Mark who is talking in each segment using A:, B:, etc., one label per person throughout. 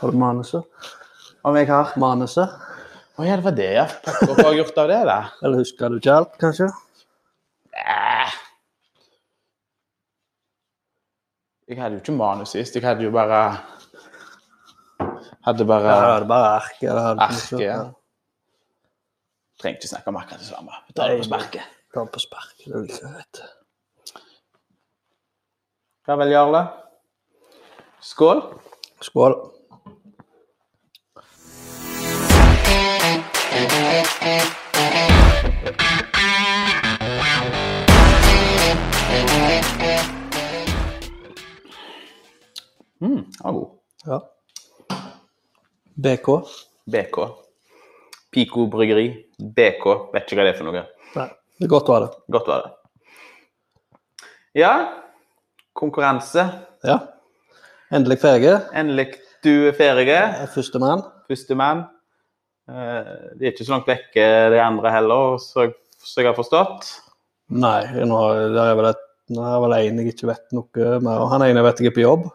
A: Har du manuset?
B: Om jeg har
A: Manuset?
B: Å ja, det var det, ja. Pokker, Hva har jeg gjort av det, da?
A: Eller husker du ikke alt, kanskje?
B: Eh. Jeg hadde jo ikke manus sist. Jeg hadde jo bare Hadde bare
A: Ja, da er det bare arket. da er det
B: Arket,
A: ikke
B: ja.
A: noe-
B: Trenger ikke snakke om akkurat det samme. Vi tar det på sparket.
A: Ta på spark. Det er jo ikke vet.
B: Ja vel, Jarle. Skål.
A: Skål.
B: Mm, den var god.
A: Ja. BK?
B: BK. Pico bryggeri. BK. Vet ikke hva det er for noe.
A: Nei, det er godt å ha det.
B: Godt var det. Ja, konkurranse.
A: Ja. Endelig ferdig.
B: Endelig du er ferdig.
A: Jeg er Førstemann.
B: Førstemann. Eh, De er ikke så langt vekke, de andre heller, så, så jeg har forstått.
A: Nei, nå har- der er vel et nå er vel en jeg ikke vet noe mer om. Han ene vet jeg er på jobb.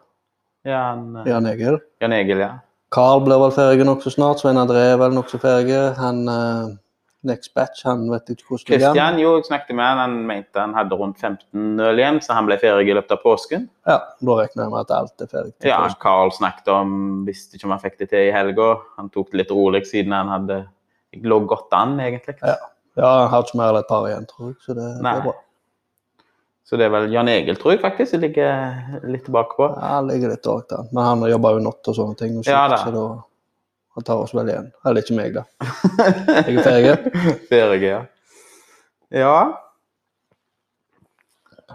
B: Jan,
A: Jan Egil.
B: Jan Egil, ja.
A: Carl blir vel ferdig nokså snart. Svein André er vel nokså ferdig. Han eh, Next Batch, han vet ikke hvordan det går.
B: Kristian, jo, jeg snakket med han. Han mente han hadde rundt 15 øl igjen, så han ble ferdig i løpet av påsken.
A: Ja, da regner jeg med at alt er ferdig. til
B: Ja,
A: påske.
B: Carl snakket om visste ikke om han fikk det til i helga. Han tok det litt rolig siden han hadde lå godt an, egentlig.
A: Ja. ja, han har ikke mer enn et par igjen, tror jeg. Så det, det
B: Nei.
A: er bra.
B: Så det er vel Jan Egil, tror jeg faktisk, som ligger litt bakpå.
A: Ja, han ligger litt dårlig an. Men han jobber jo natt og sånne ting. Og
B: Ja,
A: skift,
B: da.
A: så da han tar oss vel igjen. Eller ikke meg, da. Jeg er ferdig.
B: Ferdig, ja. Ja.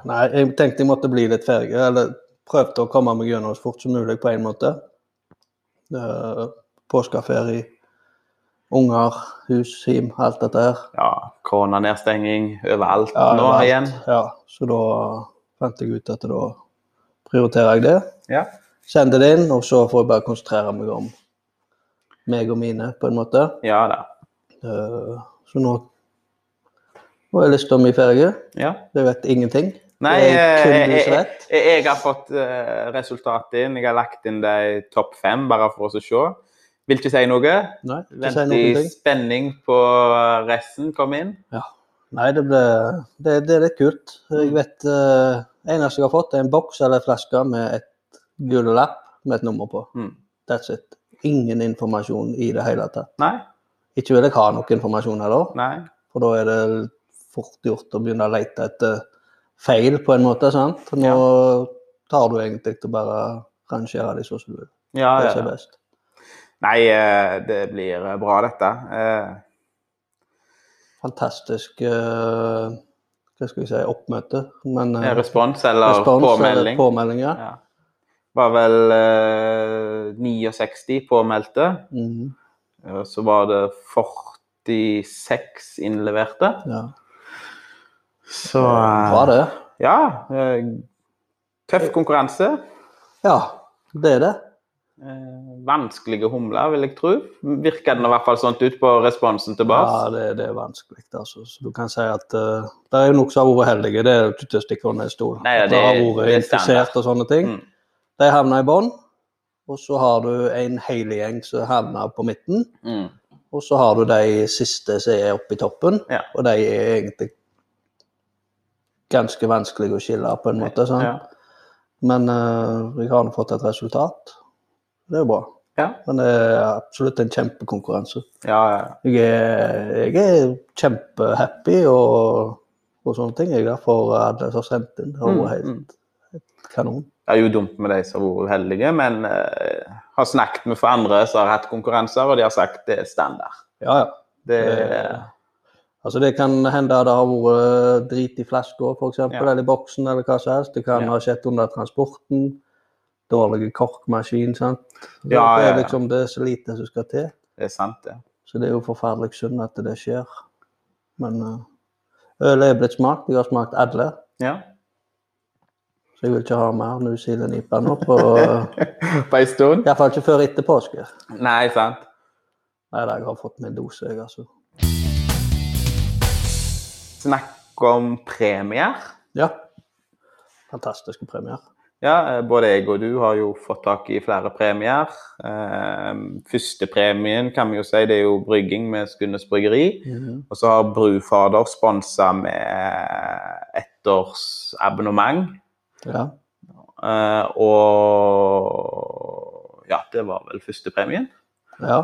A: Nei, jeg tenkte jeg måtte bli litt ferdig. Eller prøvde å komme meg gjennom så fort som mulig på en måte. Eh, Påskeferie, unger, hus, hjem, alt dette her.
B: ja Koronanedstenging overalt
A: Ja,
B: nå
A: overalt.
B: igjen.
A: Ja, så da fant jeg ut at da prioriterer jeg det.
B: Ja.
A: Sender det inn, og så får jeg bare konsentrere meg om meg og mine, på en måte.
B: ja da.
A: Eh, Så nå nå har jeg lyst til å bli ferdig.
B: Ja.
A: Jeg vet ingenting.
B: Nei, eh,
A: Det er
B: jeg,
A: kun
B: jeg, jeg,
A: husrett.
B: jeg har fått eh, resultatet inn. Jeg har lagt inn de topp fem, bare for oss å se. Vil ikke si noe.
A: Nei, ikke si
B: Vent i
A: noen ting.
B: spenning på resten. Kom inn.
A: Ja. Nei, det, ble, det, det er litt kult. Jeg vet eh, eneste jeg har fått, er en boks eller en flaske med et gul lapp med et nummer på.
B: Mm.
A: That's it. Ingen informasjon i det hele tatt.
B: Nei?
A: Ikke vil jeg ha noe informasjon heller,
B: Nei.
A: for da er det fort gjort å begynne å lete etter feil, på en måte. sant? Nå tar du egentlig til å bare rangere de sånn som du vil.
B: Ja,
A: Det
B: ja.
A: som er
B: ja.
A: best.
B: Nei, eh, det blir bra, dette. Eh,
A: Fantastisk eh, hva skal vi si, oppmøte. Men eh,
B: Respons eller
A: respons eller
B: påmelding.
A: påmelding ja.
B: Ja. Var vel eh, 69 påmeldte.
A: Mhm.
B: Eh, Så var det 46 innleverte.
A: ja.
B: Så eh,
A: Bra, eh, det.
B: Ja. eh, Tøff konkurranse.
A: Ja, det er det.
B: Eh, Vanskelige humler, vil jeg tro. Virka den i hvert fall sånn ut på responsen til
A: Ja,
B: Bars?
A: det, det er vanskelig. Altså. Så du kan si at eh, det er jo noen som har vært heldige. Det er jo ikke til å stikke under en stol.
B: Nei, ja,
A: At
B: det-
A: har
B: det
A: vært
B: er standard.
A: infisert og sånne ting.
B: Mm.
A: De havner i bånn. Og så har du en hel gjeng som havner på midten.
B: Mm.
A: Og så har du de siste som er oppe i toppen.
B: Ja.
A: Og de er egentlig ganske vanskelige å skille, på en måte. Sant?
B: Ja.
A: Men eh, jeg har nå fått et resultat. Det er jo bra.
B: Ja.
A: Men det er absolutt en kjempekonkurranse.
B: Ja, ja.
A: Jeg er, jeg er kjempehappy og, og sånne ting. Jeg er for alle som har sendt inn. Det har vært helt
B: Mm.
A: kanon.
B: Det er jo dumt med de som har vært uheldige, men eh, har snakket med for andre som har hatt konkurranser, og de har sagt det er standard.
A: Ja, ja.
B: Det
A: Eh, Altså Det kan hende det har vært eh, drit i flaska, f.eks.,
B: Ja.
A: eller i boksen, eller hva som helst. Det kan
B: Ja.
A: ha skjedd under transporten. Dårlig korkmaskin, sant. Det,
B: Ja,
A: det
B: ja,
A: er
B: ja.
A: liksom det er så lite som skal til.
B: det er sant, det.
A: Så det er jo forferdelig synd at det skjer. Men eh, ølet er blitt smakt. Jeg har smakt alle.
B: Ja.
A: Så jeg vil ikke ha mer New Zealand-IPA nå. på... eh,
B: På en stund?
A: Iallfall ikke før etter påske.
B: Nei, sant.
A: Nei da, jeg har fått min dose, jeg, altså.
B: Snakk om premier.
A: Ja. Fantastiske premier.
B: Ja, eh, både jeg og du har jo fått tak i flere premier. Eh, Førstepremien kan vi jo si, det er jo brygging med Skundes bryggeri. Og så har Brufader sponsa med ettårsabonnement.
A: Ja.
B: Eh, og ja, det var vel førstepremien.
A: ja.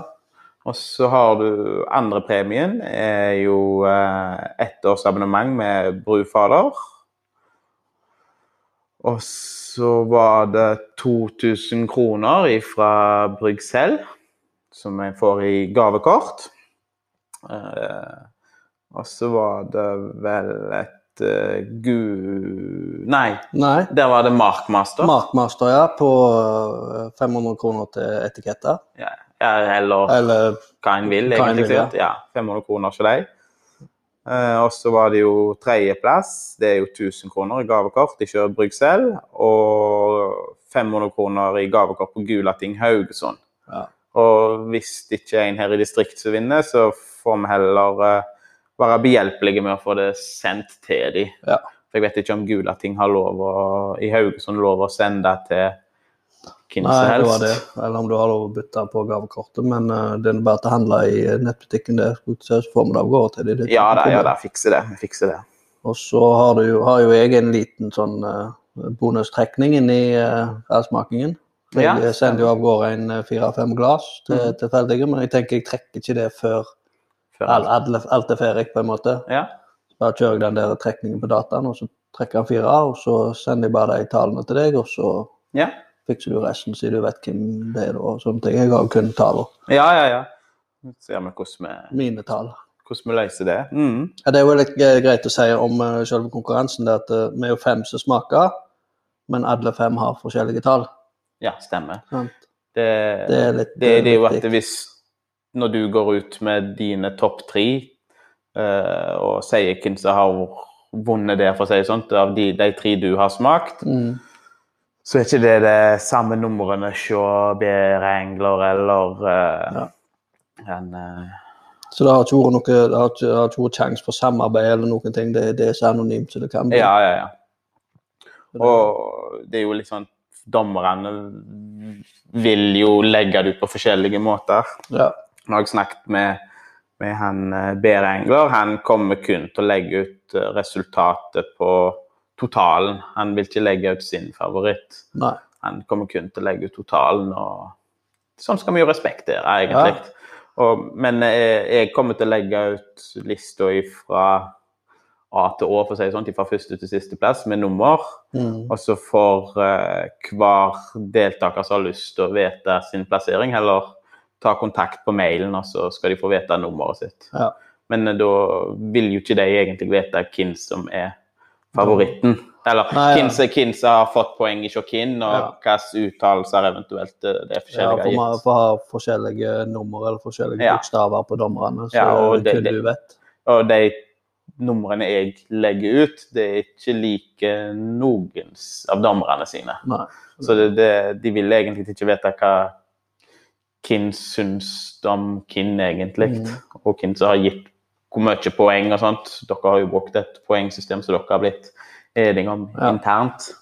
B: Og så har du andrepremien, er jo eh, ettårsabonnement med Brufader. Og så var det 2000 kroner fra Brygsel, som jeg får i gavekort. Eh, og så var det vel et eh, gu... Nei,
A: Nei.
B: der var det Markmaster.
A: Markmaster, ja, på eh, 500 kroner til etiketter.
B: ja, eller
A: Eller
B: hva en vil,
A: Hva en
B: egentlig.
A: vil, ja.
B: sikkert. ja. 500 kroner for deg. Eh, og så var det jo tredjeplass. Det er jo 1000 kroner i gavekort, ikke Bruxelles. Og 500 kroner i gavekort på Gulating Haugesund.
A: Ja.
B: Og hvis det ikke er en her i distrikt som vinner, så får vi heller eh, være behjelpelige med å få det sendt til dem.
A: Ja.
B: For jeg vet ikke om Gulating har lov å, i Haugesund lov å sende til hvem
A: Nei,
B: som
A: det
B: helst.
A: var det. Eller om du har lov å bytte på gavekortet, men eh, det er bare til å handle i eh, nettbutikken der. Så får vi det av gårde til deg. Det er
B: Ja da,
A: ikke noe
B: ja
A: problem.
B: da, fikser det. Vi fikser det.
A: Og så har, du, jo- har jo jeg en liten sånn eh, bonustrekning inni uh, allsmakingen.
B: Ja.
A: Jeg sender jo av gårde en eh, fire-fem glass til
B: Mhm.
A: tilfeldige, men jeg tenker jeg trekker ikke det før
B: Før-
A: all, alle- alt er ferdig, på en måte.
B: Ja.
A: Da kjører jeg den der trekningen på dataen, og så trekker han fire, og så sender jeg bare de tallene til deg, og så
B: Ja.
A: fikser du resten, siden du vet hvem det er da, og sånne ting. Jeg har jo kun tall,
B: Ja, ja, ja. Nå ser vi hvordan vi,
A: mine tall.
B: hvordan vi løser det. Mm.
A: Ja, det er jo litt gre- greit å si om eh, selve konkurransen, det at eh, vi er jo fem som smaker, men alle fem har forskjellige tall.
B: Ja, stemmer.
A: Sant.
B: Det,
A: Det
B: det,
A: er litt
B: det,
A: eh,
B: er jo at
A: viktig.
B: hvis Når du går ut med dine topp tre eh, og sier hvem som har vunnet der, for å si det sånn, av de, de tre du har smakt,
A: mm.
B: så er ikke det det samme numrene hos B-Wrangler eller eh, en eh,
A: Så det har ikke vært noe, det har ikke, det har ikke vært sjanse for samarbeid eller noen ting. Det, det er så anonymt som det kan bli.
B: Ja, ja, ja.
A: Så det-
B: Og det er jo litt sånn Dommerne vil jo legge det ut på forskjellige måter.
A: ja.
B: Nå har jeg snakket med, med han eh, Bear Engler. Han kommer kun til å legge ut eh, resultatet på totalen. Han vil ikke legge ut sin favoritt.
A: Nei.
B: Han kommer kun til å legge ut totalen. og Sånn skal vi jo respektere, egentlig. Og, men jeg, jeg kommer til å legge ut lista fra A til Å, for å si det sånn, fra første til siste plass, med nummer.
A: Mm.
B: Og så får Altså, eh, hver deltaker som har lyst til å vite sin plassering, heller ta kontakt på mailen, og så skal de få vite nummeret sitt.
A: Ja.
B: Men eh, da vil jo ikke de egentlig vite hvem som er favoritten. Eller
A: Nei, ja.
B: hvem som- hvem som har fått poeng i Sjokkin, og
A: Ja.
B: hvilke uttalelser eventuelt eh, det er
A: Ja,
B: forskjellige
A: for
B: har
A: man
B: gitt.
A: får ha forskjellige nummer eller forskjellige
B: Ja.
A: bokstaver på dommerne, så
B: Ja, og
A: det
B: det-
A: kun
B: det-
A: du vet.
B: Og de numrene jeg legger ut, det er ikke like noens av dommerne sine.
A: Nei.
B: Så det, det, de ville egentlig ikke vite hva hvem syns om hvem egentlig, og hvem som har gitt hvor mye poeng og sånt. Dere har jo brukt et poengsystem som dere har blitt enige om
A: Ja.
B: internt.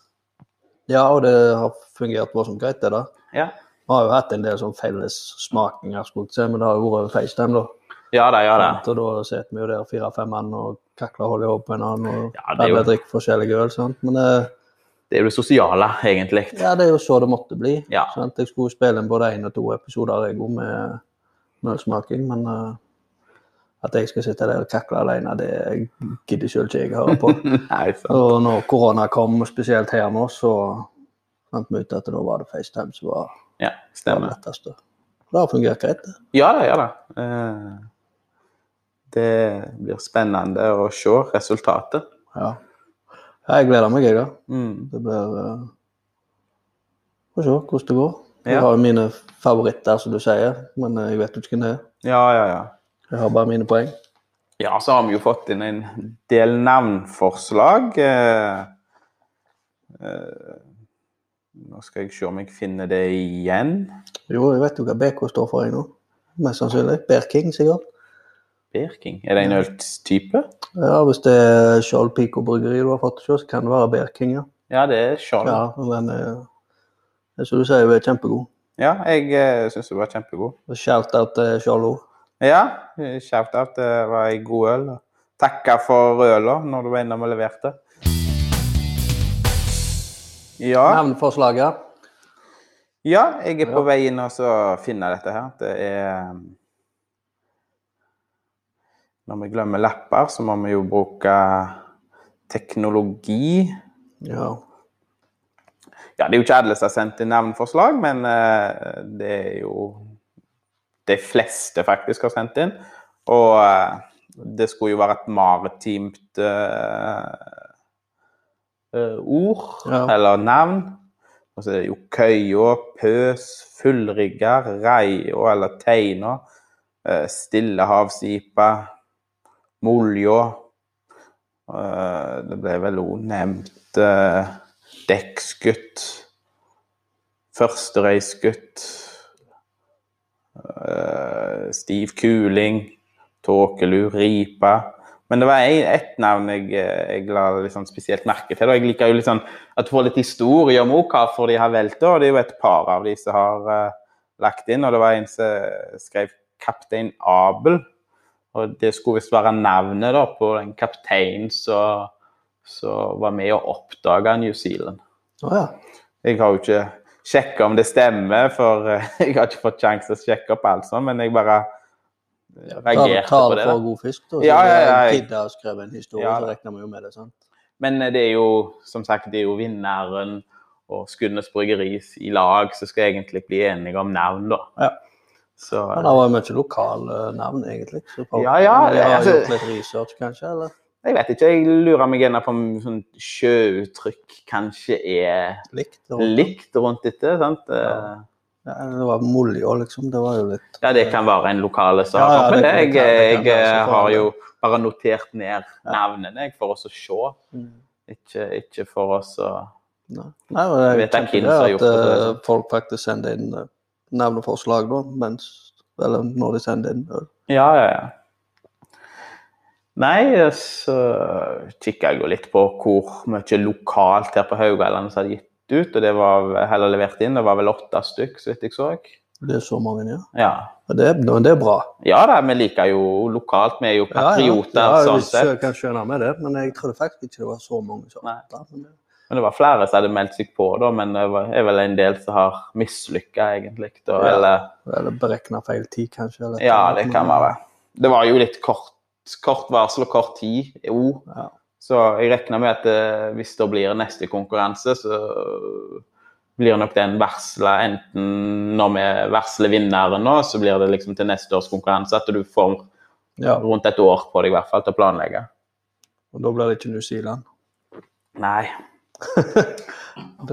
A: Ja, og det har fungert voldsomt greit, det da.
B: Ja.
A: Vi har jo hatt en del sånn felles smakinger, skulle jeg si, men det har jo vært over FaceTime, da.
B: ja da, ja da.
A: Og da sitter vi jo der fire-fem mann og kakler hull i hodet på en annen, og
B: Ja, det er jo-
A: alle drikker forskjellige øl, sant. Men eh,
B: Det er jo det sosiale, egentlig.
A: Ja, det er jo så det måtte bli.
B: Ja.
A: Sant? Jeg skulle spille inn både én og to episoder jeg òg med mølsmaking, men eh, at jeg skal sitte der og kakle alene, det gidder sjøl ikke jeg høre på.
B: Nei, sant.
A: og når korona kom, spesielt her nå, så fant vi ut at da var det FaceTime som var
B: Ja,
A: det
B: stemmer.
A: letteste. Det har fungert greit. det.
B: Ja da, ja da. Eh, Det blir spennende å se resultatet.
A: Ja. ja jeg gleder meg, jeg, da.
B: Mm.
A: Det blir eh, Får se hvordan det går. Jeg
B: Ja.
A: har jo mine favoritter, som du sier, men eh, jeg vet jo ikke hvem det er.
B: Ja, ja, ja.
A: Jeg har bare mine poeng.
B: Ja, så har vi jo fått inn en del navnforslag. Eh, eh, nå skal jeg se om jeg finner det igjen.
A: Jo, jeg vet jo hva BK står for jeg nå. Mest sannsynlig. Bear King, sikkert.
B: Birking. Er det en øltype?
A: Ja, Hvis det er Skjold Pico Bryggeri du har fått se, så kan det være Bear King, ja.
B: Ja, det er skjold. Ja,
A: Ja, den er det er som du sier, hun er kjempegod.
B: jeg eh, syns det var kjempegod.
A: Og Shout-out til Charlo.
B: Ja, eh, shout-out. Det var ei god øl. Takka for øla når du var innom og leverte. Ja,
A: Navneforslaget.
B: ja jeg er på
A: Ja.
B: vei inn og så finne dette her. Det er eh, Når vi glemmer lapper, så må vi jo bruke teknologi.
A: Ja.
B: Ja, det er jo ikke alle som har sendt inn navneforslag, men eh, det er jo de fleste faktisk har sendt inn. Og eh, det skulle jo være et maritimt eh, eh, ord,
A: Ja.
B: eller navn. Og så er det jo køya, pøs, fullrigger, reia eller teina, eh, stillehavsipa, molja. Eh, det ble vel òg nevnt eh, dekksgutt, førstereisgutt, eh, stiv kuling, tåkelur, ripa. Men det var en- ett navn jeg, eh, jeg la litt sånn spesielt merke til. Og jeg liker jo litt sånn at du får litt historie om også hvorfor de har valgt det. Og det er jo et par av de som har eh, lagt inn. Og det var en som skrev 'Kaptein Abel'. Og det skulle visst være navnet da, på den kapteinen som som var med og oppdaga New Zealand.
A: Å ja.
B: Jeg har jo ikke sjekka om det stemmer, for eh, jeg har ikke fått sjanse til å sjekke opp alt sånt, men jeg bare eh,
A: Tar,
B: reagerte
A: tar
B: på
A: det
B: det.
A: for
B: Da.
A: god fisk, da.
B: Ja, ja, ja,
A: Når
B: jeg-
A: en kid har skrevet en historie, så
B: Ja, da.
A: regner vi jo med det, sant?
B: Men eh, det er jo som sagt det er jo vinneren og Skudenes Bryggeri i lag som skal egentlig bli enige om navn, da.
A: Ja.
B: Så
A: Ja, det var jo mye lokale navn, egentlig. Så folk
B: Ja, ja,
A: de har
B: altså-
A: gjort litt research, kanskje? eller?
B: eh, jeg vet ikke. Jeg lurer meg gjerne på om sånn sjøuttrykk kanskje er
A: Likt. og-
B: likt rundt dette. sant?
A: Sånn. Ja.
B: Eh,
A: Ja, det var Molja, liksom. Det var jo litt
B: Ja, det kan være en lokale som
A: Ja,
B: har
A: ja,
B: kommet.
A: det kan- det kan- det kan
B: Jeg, jeg eh,
A: være, så får
B: har
A: han
B: jo bare notert ned navnene jeg, for oss å se,
A: Mm.
B: ikke, ikke for oss å
A: Nei, Nei og det er
B: Jeg vet ikke hvem
A: kjempegøy
B: som har
A: at
B: gjort det,
A: eh,
B: altså.
A: folk faktisk sender inn eh, navneforslag, da, mens Eller når de sender inn eh, øl.
B: Ja, ja, ja. Nei, så kikka jeg jo litt på hvor mye lokalt her på Haugalandet som hadde gitt ut, og det var vel- eller levert inn. Det var vel åtte stykk, så vidt jeg så.
A: Det er så mange, ja.
B: Ja.
A: Og det, er- nå, det er bra.
B: ja da, vi liker jo lokalt. Vi er jo patrioter
A: ja, ja,
B: sånn
A: hvis jeg
B: sett.
A: kan skjønne med det, men jeg trodde faktisk ikke det var så mange som
B: Nei.
A: åtte. men det-
B: Men det var flere som hadde meldt seg på, da, men det var- er vel en del som har mislykka, egentlig. Da,
A: Ja.
B: eller
A: Eller beregna feil tid, kanskje. Eller
B: Ja, det kan være. Det var jo litt kort, kort varsel og kort tid jo.
A: Ja.
B: Så jeg regner med at eh, hvis det blir neste konkurranse, så blir nok den varsla enten når vi varsler vinneren nå, så blir det liksom til neste års konkurranse at du får
A: Ja,
B: rundt et år på deg i hvert fall til å planlegge.
A: og da blir det ikke New Zealand.
B: Nei,
A: Da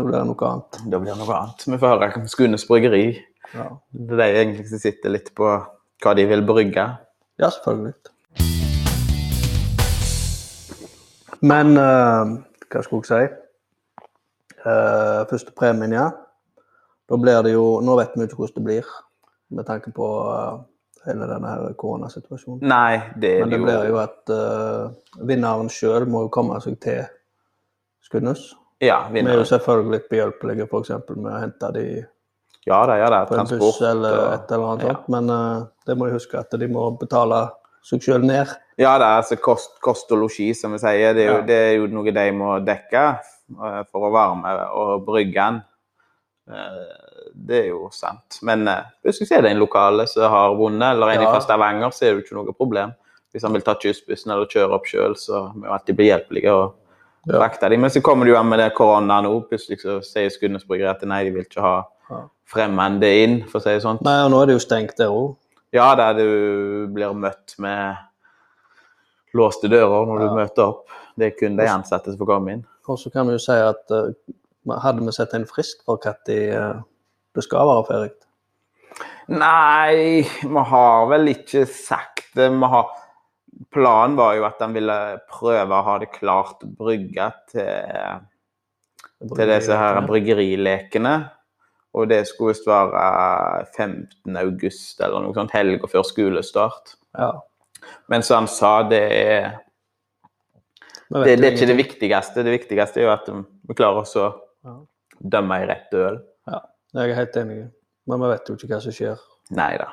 A: blir det noe annet.
B: da blir det noe annet. Vi får høre om Skunes bryggeri.
A: Ja,
B: Det er de egentlig som sitter litt på hva de vil brygge.
A: ja selvfølgelig. Men eh, hva skulle jeg si? Eh, første premien, ja. Da blir det jo Nå vet vi jo ikke hvordan det blir med tanke på eh, hele denne her koronasituasjonen.
B: Nei, det er
A: Men det
B: jo-
A: blir jo at eh, vinneren sjøl må jo komme seg til Skudenes.
B: Ja,
A: Vi er jo
B: vinneren.
A: selvfølgelig behjelpelige f.eks. med å hente de
B: Ja da, ja da.
A: på en buss
B: Transport.
A: eller
B: og-
A: et eller annet
B: ja.
A: sånt. Men eh, det må de huske at de må betale seg sjøl ned.
B: Ja, det er altså kost, kost og losji, som vi sier. Det er, jo,
A: Ja.
B: det er jo noe de må dekke eh, for å varme og brygge den. Eh, Det er jo sant. Men eh, hvis du ser det er en lokale som har vunnet, eller en
A: Ja.
B: fra Stavanger, så er det jo ikke noe problem. Hvis han vil ta kyssbussen eller kjøre opp sjøl, så må jo alltid bli hjelpelige og
A: Ja.
B: frakte dem. Men så kommer det jo an med det koronaen liksom, òg. Plutselig så sier Skudenes Bryggeri at nei, de vil ikke ha
A: Ja.
B: fremmede inn, for å si det sånn.
A: Nei, og nå er det jo stengt der òg.
B: Ja, der du blir møtt med låste dører når
A: Ja.
B: du møter opp. Det er kun de ansatte som får komme inn.
A: Og så kan vi jo si at eh, hadde vi sett en frist for når eh, det skal være ferdig
B: Nei, vi har vel ikke sagt det. Vi har Planen var jo at han ville prøve å ha det klart brygga til, til disse her bryggerilekene. Og det skulle visst være 15. august eller noe sånt, helga før skolestart.
A: Ja.
B: Men som han sa, det er
A: Vi vet jo
B: Det, det er ikke det
A: ingenting.
B: viktigste. Det viktigste er jo at vi klarer også å dømme ei rett øl.
A: Jeg er helt enig. Men vi vet jo ikke hva som skjer.
B: Nei da.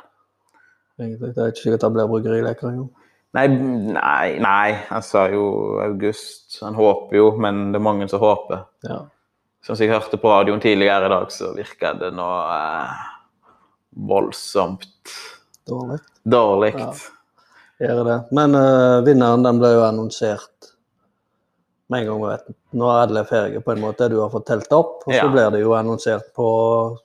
A: egentlig. Det er ikke sikkert det blir bryggeri lenger engang.
B: Nei, nei, nei. Han sa jo august. Han håper jo, men det er mange som håper.
A: Ja.
B: Sånn som jeg hørte på radioen tidligere i dag, så virka det nå eh, voldsomt
A: Dårlig.
B: dårlig.
A: Ja. Gjør det. Men eh, vinneren den ble jo annonsert med en gang vi vet den. Når alle er ferdige, på en måte. Du har fått telt opp, og så
B: Ja.
A: blir det jo annonsert på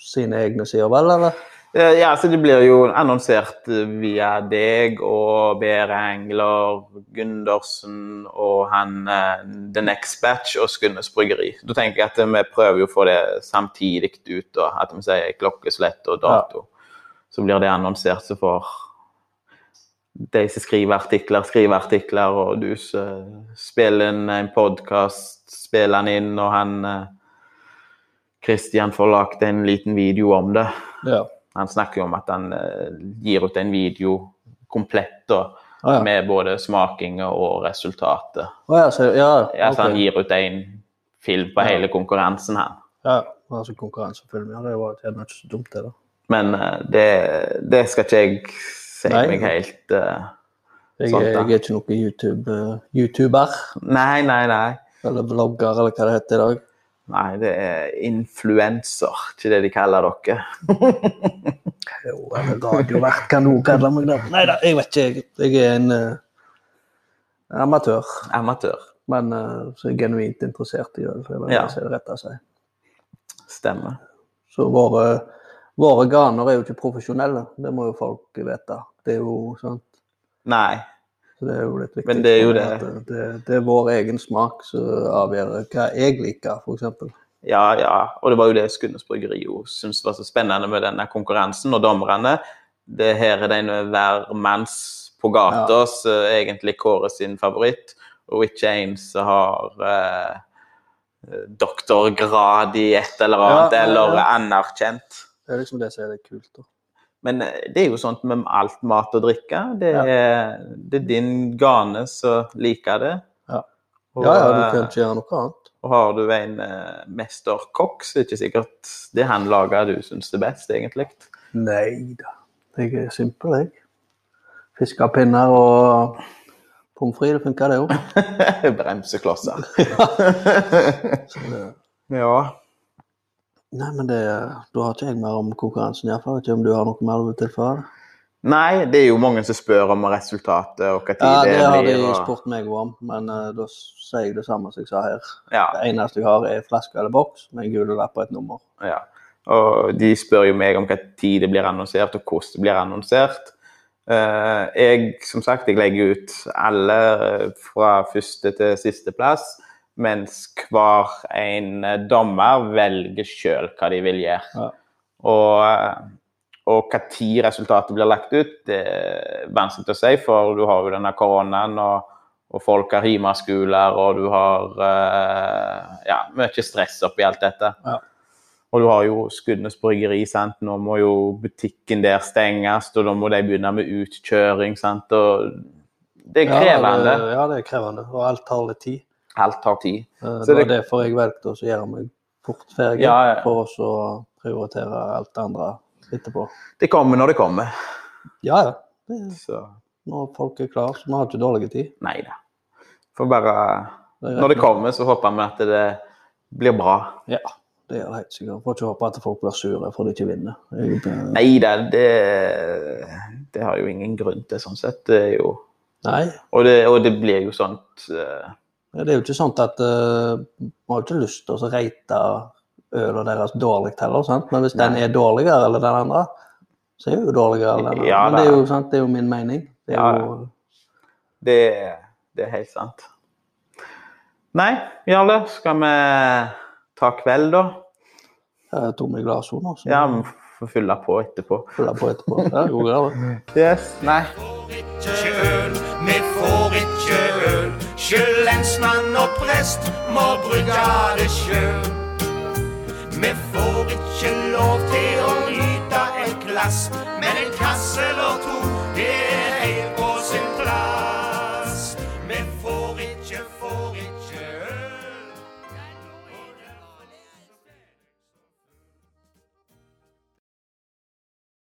A: sine egne sider, vel? Eller?
B: Eh, Ja, så det blir jo annonsert eh, via deg og Bere Engler, Gundersen og han eh, The Next Batch og Skundes Bryggeri. Da tenker jeg at eh, vi prøver jo å få det samtidig ut, da, at vi sier klokkeslett og dato. Så blir det annonsert, så får de som skriver artikler, skriver artikler, og du som spiller inn en podkast, spiller den inn, og han eh, Christian får lagt en liten video om det.
A: Ja.
B: Han snakker jo om at han eh, gir ut en video komplett da,
A: Å ja.
B: med både smaking og resultatet.
A: Å ja, så, ja,
B: Ja,
A: ok.
B: så han gir ut en film på
A: Ja.
B: hele konkurransen her.
A: ja. Altså konkurransefilm. Ja, det var gjerne ikke så dumt, det, da.
B: Men eh, det, det skal ikke jeg si
A: Nei.
B: meg helt eh,
A: Jeg,
B: Sant, da.
A: jeg er ikke noen YouTube, eh, YouTuber
B: Nei, nei, nei.
A: eller vlogger eller hva det heter i dag.
B: Nei, det er influenser, ikke det de kaller dere.
A: Jo, eller radiovert kan du kalle meg det. Nei da, jeg vet ikke. Jeg, jeg er en eh, amatør.
B: Amatør.
A: Men eh, så er jeg genuint interessert i øl, for jeg vil
B: Ja.
A: si det rett av seg.
B: Stemmer.
A: Så våre, våre ganer er jo ikke profesjonelle, det må jo folk vite. Det er jo sant.
B: Nei.
A: Så det er jo litt viktig.
B: Men det er jo
A: for meg at Det, det er vår egen smak som avgjør hva jeg liker, f.eks.
B: Ja, ja. Og det var jo det Skundes Bryggeri jo syntes var så spennende med denne konkurransen og dommerne. Det her er det en hver manns på gata som egentlig kårer sin favoritt, og ikke en som har eh, doktorgrad i et eller
A: Ja,
B: annet,
A: ja, ja.
B: eller er anerkjent.
A: Det er liksom det som er litt kult. Da.
B: Men eh, det er jo sånt med alt mat og drikke. Det
A: Ja.
B: er, det er din gane som liker det.
A: Ja.
B: Og,
A: Ja, ja, du
B: eh,
A: kan ikke gjøre noe annet.
B: og har du en eh, mesterkokk, så er det ikke sikkert det han lager du syns er best, egentlig.
A: Nei da. Jeg er simpel, jeg. Fiskepinner og pommes frites, det funker det jo.
B: Bremseklosser.
A: Så-
B: ja.
A: Nei, men det, da har ikke jeg mer om konkurransen, iallfall. Ikke om du har noe mer du vil tilføye?
B: Nei, det er jo mange som spør om resultatet og hva tid
A: Ja,
B: det,
A: det har de
B: blir. og-
A: spurt meg om, men eh, da sier jeg det samme som jeg sa her.
B: Ja,
A: Det eneste jeg har, er flaske eller boks med en gul lapp og et nummer.
B: ja. Og de spør jo meg om hva tid det blir annonsert, og hvordan det blir annonsert. Eh, jeg, som sagt, jeg legger ut alle eh, fra første til siste plass, mens hver en eh, dommer velger sjøl hva de vil gjøre.
A: Ja.
B: Og, eh, og hva tid resultatet blir lagt ut, det er vanskelig å si, for du har jo denne koronaen, og, og folk har hjemmeskoler, og du har eh, ja, mye stress oppi alt dette.
A: Ja.
B: Og du har jo Skudenes bryggeri, sant. Nå må jo butikken der stenges, og da må de begynne med utkjøring, sant. Og det er
A: Ja,
B: krevende.
A: det, ja, det er krevende, og alt tar litt tid.
B: Alt tar tid.
A: Eh, Det
B: Så
A: var
B: det-
A: derfor jeg valgte å gjøre meg fort ferdig,
B: Ja, ja.
A: for å så prioritere alt det andre etterpå.
B: Det kommer når det kommer.
A: Ja, ja. Det-
B: Så
A: Når folk er klare, så vi har ikke dårlig tid.
B: nei da. Får bare
A: Det er rett
B: Når det
A: nok.
B: kommer, så håper vi at det blir bra.
A: Ja, det er helt sikkert. Får ikke håpe at folk blir sure for de ikke vinner. Jeg, eh,
B: Nei da, det, det har jo ingen grunn til, sånn sett. Det er jo,
A: Nei,
B: og, det, og det blir jo sånt eh,
A: det er jo ikke sånn at eh, man har ikke lyst til å så reite ølen deres dårlig heller, sant? men hvis den
B: Nei.
A: er dårligere eller den andre, så er jo dårligere eller den andre.
B: Ja,
A: men det
B: da.
A: er jo, sant? det er jo min mening. Det er
B: Ja, ja.
A: jo,
B: det, det er helt sant. Nei, Jarle, skal vi ta kveld, da?
A: jeg tok meg glasset nå, så
B: Ja,
A: jeg
B: vi får fylle på etterpå.
A: fyller på etterpå. Ja, jeg gjorde det.
B: Yes, nei.
C: ikke øl, vi får ikke øl. Sjøl lensmann og prest må brygge det sjøl. Vi får ikke lov til å nyte et glass, men en kasse eller to, det er helt på sin